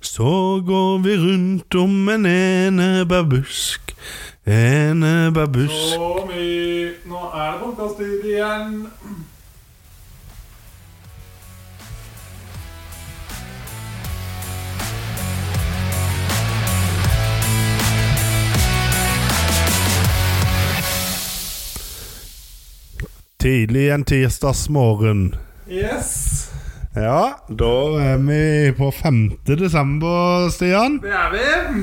Så går vi rundt om en enebærbusk, enebærbusk Tommy, nå er det podkast-tid igjen. Tidlig en tirsdagsmorgen. Yes. Ja, da er vi på 5. desember, Stian. Det er vi.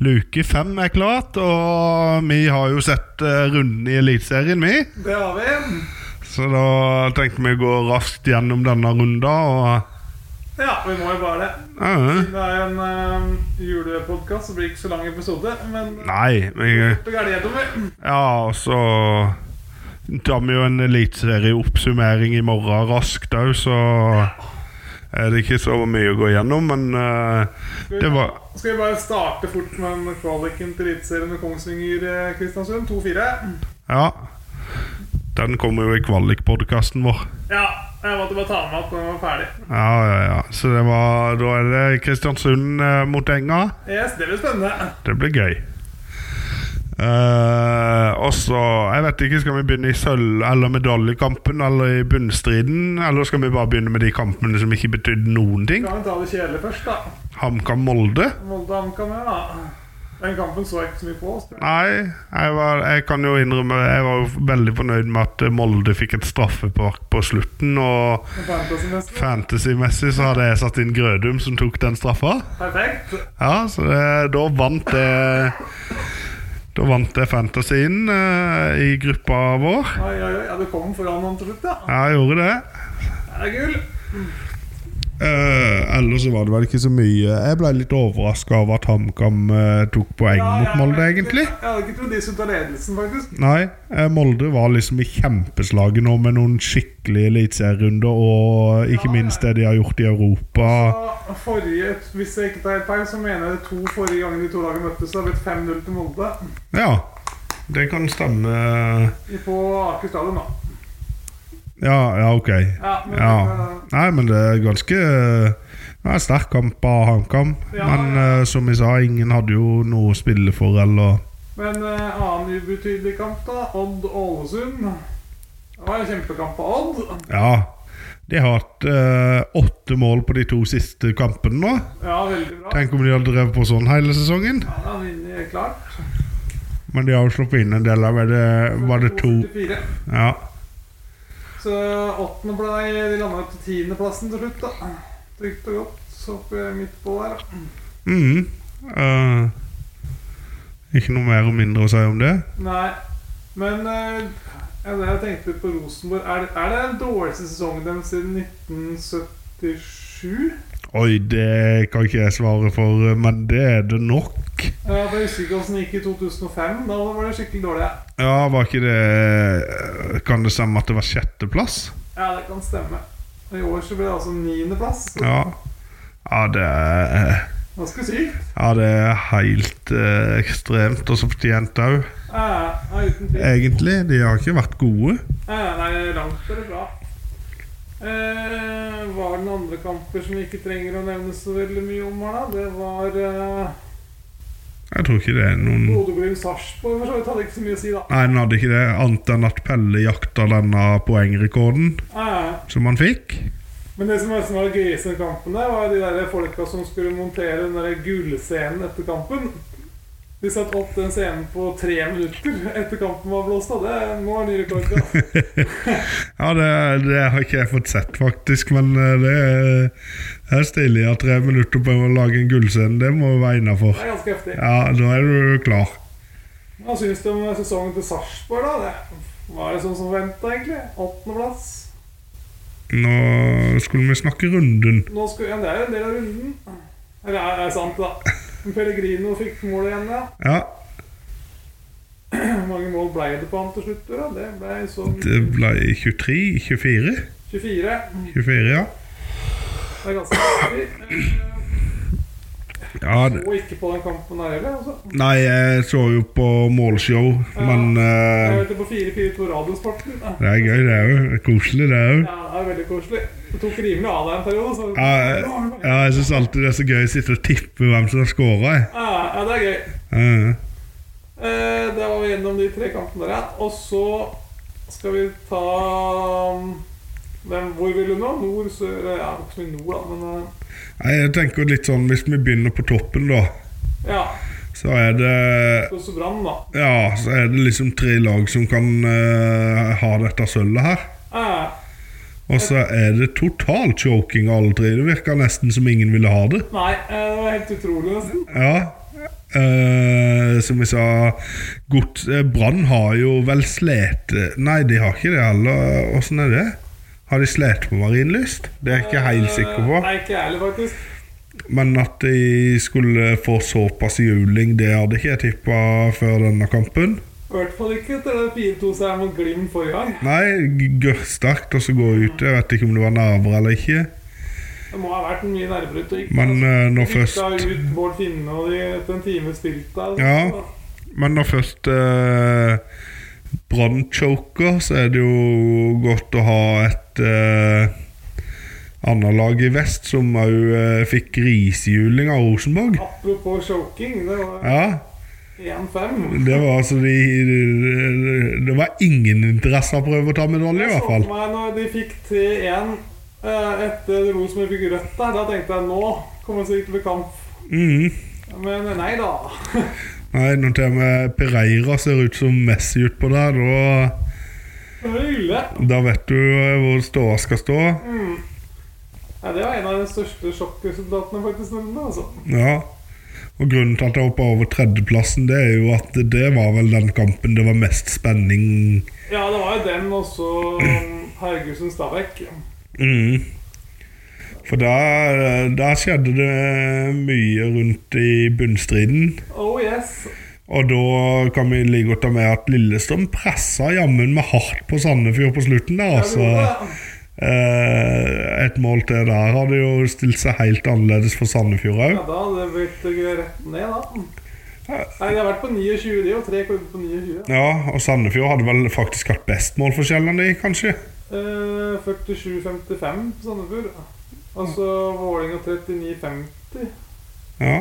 Luke fem er klart, og vi har jo sett eh, runden i Eliteserien, vi. Det har vi. Så da tenkte vi å gå raskt gjennom denne runden, og eh, Ja, vi må jo bare det. ja, Det er en uh, julepodkast, så blir det ikke så lang episode. Men Nei, vi det er det, Tommy. Ja, og så tar vi jo en eliteserieoppsummering i morgen raskt òg, så er det ikke så mye å gå gjennom, men eh, det var Skal vi bare starte fort med en kvaliken til Eliteserien med eh, Kongsvinger-Kristiansund? 2-4. Ja. Den kommer jo i kvalikpodkasten vår. Ja, jeg måtte bare ta med at den var ferdig. Ja, ja, ja. Så det var Da er det Kristiansund eh, mot Enga. Yes, det blir spennende. Det blir gøy. Eh, og så Jeg vet ikke, skal vi begynne i sølv- eller medaljekampen eller i bunnstriden? Eller skal vi bare begynne med de kampene som ikke betydde noen ting? Kan vi ta det kjedelige først, da? HamKam-Molde? Molde HamKam, ja. da. Den kampen så jeg ikke så mye på. tror jeg. Nei, jeg, var, jeg kan jo innrømme Jeg var jo veldig fornøyd med at Molde fikk et straffepark på slutten. Og Men fantasy-messig, fantasy-messig så hadde jeg satt inn Grødum, som tok den straffa. Perfekt. Ja, så det, da vant det Da vant det fantasyen eh, i gruppa vår. Oi, oi, oi. Ja, du kom foran han til slutt, ja. Ja, jeg gjorde det. Det er gull. Eh, ellers så var det vel ikke så mye Jeg ble litt overraska over at HamKam eh, tok poeng Ja, mot jeg- Molde, egentlig. Jeg hadde ikke trodd de skulle ta ledelsen, faktisk. Nei, eh, Molde var liksom i kjempeslaget nå med noen skikkelige eliteserierunder, og ikke Ja, minst det de har gjort i Europa. Og Forrige, hvis jeg ikke tar helt feil, så mener jeg det to forrige ganger de to lagene møttes, så har det blitt 5-0 til Molde. Ja, det kan stemme I- På Aker stadion, da. Ja, ja, ok. Ja, men, Ja. eh, Nei, men det er ganske det er en sterk kamp av HamKam. Ja, Men eh, som jeg sa, ingen hadde jo noe å spille for, eller men eh, annen ubetydelig kamp, da. Odd-Ålesund. Det var en kjempekamp av Odd. Ja. De har hatt eh, åtte mål på de to siste kampene nå. Ja, veldig bra. Tenk om de hadde drevet på sånn hele sesongen. Ja, da vinner jeg klart. Men de har jo sluppet inn en del av det. Var det to 2-4. Ja. Så åttende blei De landa på tiendeplassen til slutt, da. Trygt og godt. Så oppe midt på der. da. Mm. Eh, ikke noe mer og mindre å si om det. Nei. Men eh, ja, det jeg tenkte på Rosenborg Er, det- er det den dårligste sesongen deres siden 1977? Oi, det kan ikke jeg svare for, men det er det nok. Ja, for Jeg husker ikke åssen det gikk i 2005. Da var det skikkelig dårlig. Ja, var ikke det Kan det stemme at det var sjetteplass? Ja, det kan stemme. I år så ble det altså niendeplass. Ja. Ja, det er Ganske sykt. Ja, det er helt eh, ekstremt, og så fortjent òg. Ja, ja, uten tvil. Egentlig. De har ikke vært gode. Ja, nei, langt er det bra. Eh, var det noen andre kamper som vi ikke trenger å nevne så veldig mye om her, da? Det var eh, Jeg tror ikke det er noen Bodø-Glimt-Sarpsborg, for så vidt. Hadde ikke så mye å si, da. Nei, han hadde ikke det, annet enn at Pelle jakta denne poengrekorden Eh, som han fikk. men det som nesten var det gøyeste med kampen, der, var de der folka som skulle montere den der gullscenen etter kampen. De satte opp den scenen på tre minutter etter kampen var blåst av. Det må være ny rekord. da. Ja, det, det har ikke jeg fått sett, faktisk, men eh, det er, det er stilig at tre minutter på å lage en gullscene. Det må være Det innafor. er ganske heftig. Ja, da er du klar. Hva syns du om sesongen til Sarpsborg, da? Det var det sånn som venta, egentlig? Åttendeplass. Nå skulle vi snakke runden. Nå skulle, ja, det er jo en del av runden. Eller er det sant, da? Men Pellegrino fikk mål igjen, ja. Ja, Hvor mange mål ble det på han til slutt? da? Det ble sånn det ble 23? 24? 24. 24, ja. Det er ganske riktig. Eh, Ja, Ja, det- Og ikke på den kampen her heller. Altså. Nei, jeg så jo på målshow, men Jeg eh, hørte på 442 Radiosporten. Ja, Det er gøy, det er jo. Det er Koselig, det er jo. det er veldig koselig. Det tok rimelig av deg en periode. Så. Ja, jeg- ja, jeg syns alltid det er så gøy å sitte og tippe hvem som har scora. Ja, ja, det er gøy. Uh, Eh, det var vi gjennom de tre kampene der. ja. Og så skal vi ta um, hvem, Hvor vil du nå? Nord, sør eh, Ja, ikke så mye nord, da, men eh, jeg tenker litt sånn, Hvis vi begynner på toppen, da, Ja. så er det Også Brann, da. Ja, så er det liksom tre lag som kan eh, ha dette sølvet her. Eh, Og så er det total choking av alle tre. Det virker nesten som ingen ville ha det. nei, eh, det var helt utrolig, nesten. Ja. Eh, som vi sa Godt eh, Brann har jo vel slet eh, Nei, de har ikke det heller. Åssen er det? Har de slet på Marienlyst? Det er jeg ikke helt sikker Eh, på. Nei, ikke jeg heller, faktisk. Men at de skulle få såpass juling, det hadde ikke jeg tippa før denne kampen. I hvert fall ikke etter den 4-2-seieren mot Glimt forrige gang. Nei, g- gørrsterkt, og så gå ut. Jeg vet ikke om det var nerver eller ikke. Det må ha vært mye nærmere ut. og ikke- Men eh, når først Rykka ut Bård Finne og de etter en time spilt der. så- Ja. Men når først eh, Brann choker, så er det jo godt å ha et eh, annet lag i vest som òg eh, fikk risehjuling av Rosenborg. Apropos choking, det var Ja, 1-5. det var altså de det- Det var ingen interesse av å prøve å ta medalje, i Jeg hvert så fall. for meg når de fikk 3-1 eh, etter Rosenborg fikk rødt der, da tenkte jeg nå kommer det sikkert til å bli kamp. Mhm. Men eh, nei da. Nei, når til og med Pereira ser ut som Messi utpå der, da Det var ille. Da vet du eh, hvor ståa skal stå. Nei, det var en av de største sjokkresultatene faktisk denne, altså. Ja. Og grunnen til at jeg hoppa over tredjeplassen, det er jo at det var vel den kampen det var mest spenning Ja, det var jo den også Haugesund-Stabæk. mm. For der, eh, der skjedde det mye rundt i bunnstriden. Oh yes. Og da kan vi like godt ta med at Lillestrøm pressa jammen meg hardt på Sandefjord på slutten der, Jeg altså. gjorde det. Eh, et mål til der hadde jo stilt seg helt annerledes for Sandefjord òg. Ja, da hadde det blitt eh, rett ned, da. Nei, de har vært på 29, de, og tre klubber på 29. da. Ja, og Sandefjord hadde vel faktisk hatt best målforskjell enn de, kanskje. Eh, 47-55 på Sandefjord. Altså Vålerenga 39-50. Ja.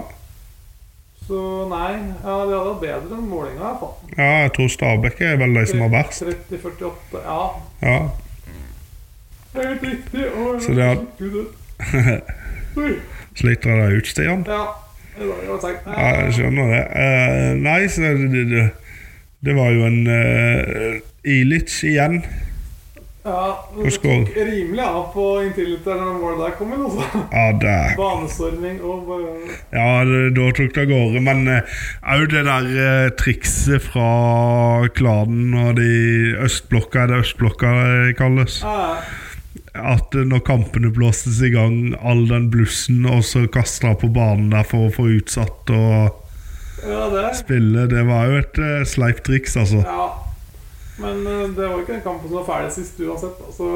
Så nei, ja, de hadde vært bedre enn Vålerenga i hvert fall. Ja, jeg tror Stabæk er vel de som har verst. 30-48, ja. Ja. Det er helt riktig. Å, Så det er- Gud, det- Oi, Sliter jeg deg ut, Stian? Ja. Det var jo tenkt. Ja, jeg skjønner det. Eh, nei, så det, det, det, det var jo en uh, Ilic igjen. Ja, Og det skål. tok rimelig av på inntiliteren når målet der kom inn, altså. Ja, det, Banestorming og bare- ja det, da tok det av gårde. Men òg det der eh, trikset fra klanen og de østblokka, er det østblokka det kalles? ja, At eh, når kampene blåstes i gang, all den blussen, og så kasta på banen der for å få utsatt og ja, det. spille. Det var jo et uh, sleipt triks, altså. Ja. Men eh, det var ikke den kampen som var ferdig sist uansett. Altså,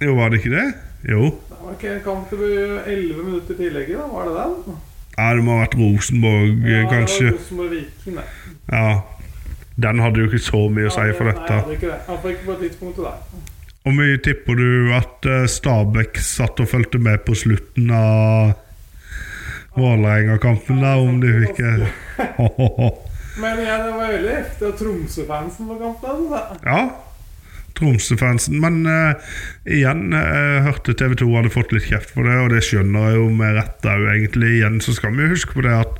det Jo, var det ikke det? Jo. var ikke en kamp til 11 minutter tillegg i, da. Var det den? Ja, det må ha vært Rosenborg, eh, Ja, det kanskje. var Rosenborg-Viking, det. Ja. Den hadde jo ikke så mye å si for Nei, jeg dette. hadde ikke det. Iallfall ikke på et tidspunkt til deg. Hvor mye tipper du at eh, Stabæk satt og fulgte med på slutten av Vålerenga-kampen der, om de fikk eh, Men ja, det var veldig heftig av Tromsø-fansen på kampen. Altså. Ja. Tromsø-fansen. Men eh, igjen, jeg hørte TV 2 hadde fått litt kjeft for det, og det skjønner jeg jo med rette òg, egentlig. Igjen så skal vi jo huske på det at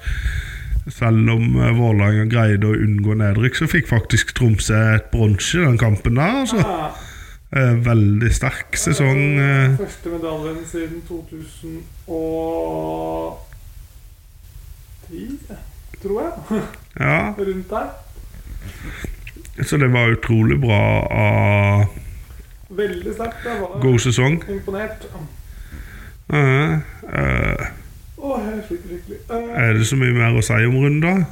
selv om eh, Vålerenga greide å unngå nedrykk, så fikk faktisk Tromsø et bronse i den kampen der, altså. Ja. Eh, Veldig sterk sesong. eh. Første medaljen siden 2010, tror jeg. Ja, Rundt der. så det var utrolig bra av Veldig sterkt. Jeg var god sesong. imponert. Eh, eh, Åh, jeg sliter skikkelig. Eh, Er det så mye mer å si om runder?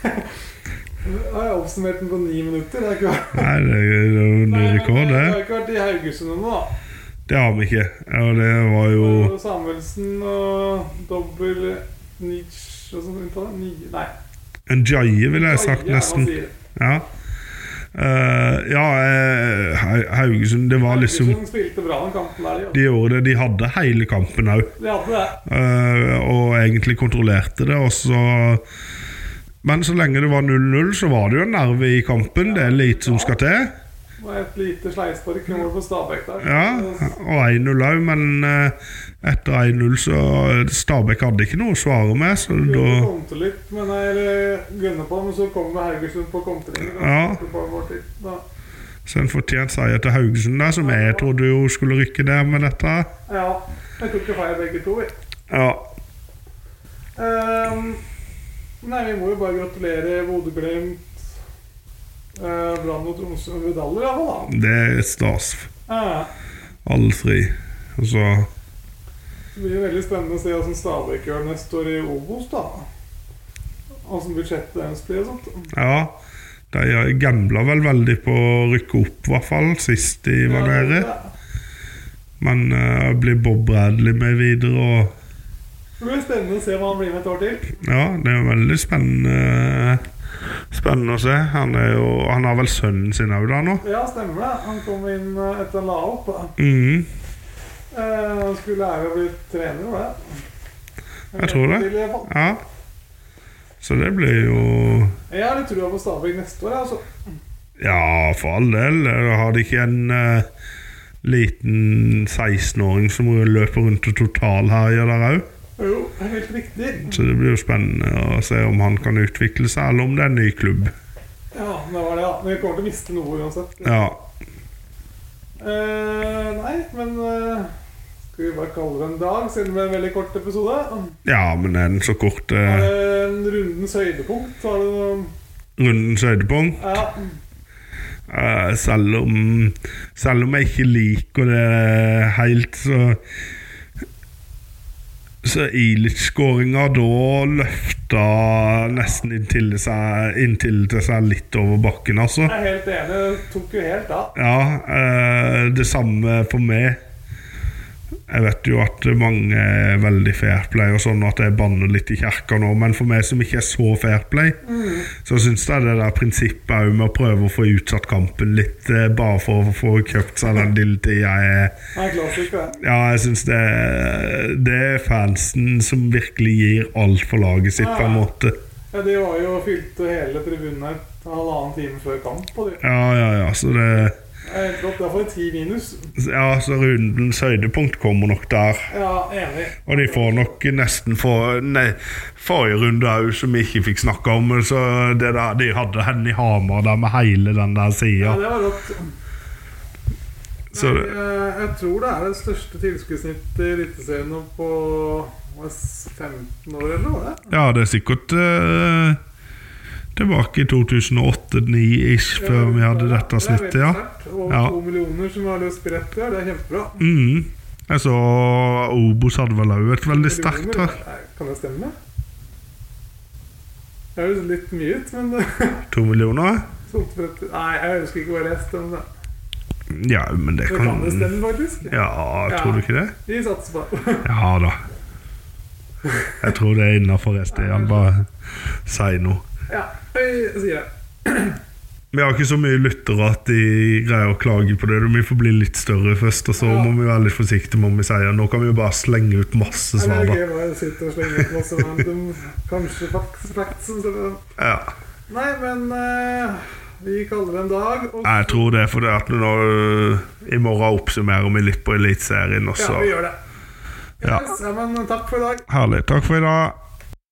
Jeg har oppsummert den på ni minutter. Det er ikke Nei, det er det er jo ny Nei, men rekord, eh. Jeg har det. ikke vært i Haugesund ennå, da. Det har vi ikke. Og det var jo Og Samuelsen og dobbel Nitsch og sånn uttale? Nye? Nei. En jaie, ville jeg sagt, Ja, man nesten. sier det. Ja, Eh, ja eh, Hau- Haugesund, det var liksom Haugesund spilte bra den kampen der, de. De gjorde det, de hadde hele kampen òg. altså. De hadde det. Eh, og egentlig kontrollerte det. Og så Men så lenge det var 0-0, så var det jo en nerve i kampen. Det er lite som skal til. Og et lite sleivspark nå på Stabæk der. Ja, Og 1-0 òg, men eh, etter 1-0 så eh, Stabæk hadde ikke noe å svare med, så da Skulle kontre litt, men jeg gunner på, men så kommer Haugesund på kontring. og Ja. setter på en mål til. Da- Så en fortjent seier til Haugesund, der, som jeg trodde jo skulle rykke ned med dette. Ja, jeg tok ikke feil begge to, vi. Ja, Ehm, nei, vi må jo bare gratulere Bodø-Glimt, uh, Brann og Tromsø med medaljer, iallfall. det er stas. Uh, Alle tre. Og så det blir veldig spennende å se hvordan Stabæk gjør neste år i Obos, da. Åssen budsjettet deres blir og sånt. Ja. De gambla vel veldig på å rykke opp, i hvert fall, sist de var nede. Men eh, blir Bob Bradley med videre og Det blir spennende å se hva han blir med et år til. Ja, det er jo veldig spennende eh, Spennende å se. Han, er jo, han har vel sønnen sin òg da nå? Ja, stemmer det. Han kom inn eh, etter han la opp. da. Mhm. Eh, Han skulle lære å bli trener, var det? Jeg tror det. Til, i hvert fall. Ja. Så det blir jo Jeg har litt trua på Stabæk neste år. Altså. Ja, for all del. Da har de ikke en eh, liten 16-åring som løper rundt og totalherjer der òg. Jo, helt riktig. Så det blir jo spennende å se om han kan utvikle seg, eller om det er en ny klubb. Ja, det var det, ja. Men vi kommer til å miste noe uansett. Ja. Eh, nei, men eh, skal vi bare kalle det en dag, siden det ble en veldig kort episode? Ja, men er den så kort Er eh, det en rundens høydepunkt? Har du noen rundens høydepunkt? Ja. Eh, selv om Selv om jeg ikke liker det helt, så Så Ilic-skåringa da løfta nesten inntil seg, inntil til seg litt over bakken, altså. Jeg er helt enig. Det tok jo helt av. Ja, eh, det samme for meg. Jeg vet jo at mange er veldig fairplay og sånn, at jeg banner litt i kirka nå, men for meg som ikke er så fairplay, så syns jeg det der prinsippet òg med å prøve å få utsatt kampen litt, eh, bare for å få kjøpt seg den lille tida jeg Det er klassisk, det. Ja, jeg syns det, det er fansen som virkelig gir alt for laget sitt, på en måte. Ja, de var jo fylte hele tribunen her halvannen time før kamp. Og det Ja, ja, ja, så det Det er helt rått. Det er for ti minus. Ja, så rundens høydepunkt kommer nok der. Ja, enig. Og de får nok nesten for, nei, forrige runde òg, som vi ikke fikk snakka om. Så det der, de hadde henne i Hamar der med hele den der Ja, sida. det var rått. Så Nei, det- eh, jeg tror det er det største tilskuddssnittet i Eliteserien nå på hva, 15 år, eller noe? det? Ja, det er sikkert eh, tilbake i 2008-2009-ish, før vi hadde dette snittet, ja. Det er veldig sterkt. Over Ja. to millioner som har løst billett der, det er kjempebra. Mm. Jeg så Obos hadde vel òg et veldig sterkt her. Millioner, nei, Kan det stemme? Det høres litt mye ut, men To millioner? sånt for at- Nei, jeg husker ikke hva jeg leste om det. Ja, men det Men kan kan det stemme, faktisk? Ja, tror du ikke det? Vi satser på det. Ja da. Jeg tror det er innafor et sted. Han bare sier noe. Ja, jeg sier det. Vi har ikke så mye lyttere at de greier å klage på det. Vi får bli litt større først, og så Ja. må vi være litt forsiktige med om vi sier Nå kan vi jo bare slenge ut masse Nei, svar, Det da. er gøy bare å sitte og slenge ut masse random Kanskje facts, facts som står på. Ja. Nei, men eh, vi kaller det en dag. Og Jeg tror det, for det at nå eh, i morgen oppsummerer vi litt på Eliteserien ja, også. vi gjør det. Ja. Yes, ja, men takk for i dag. Herlig. Takk for i dag.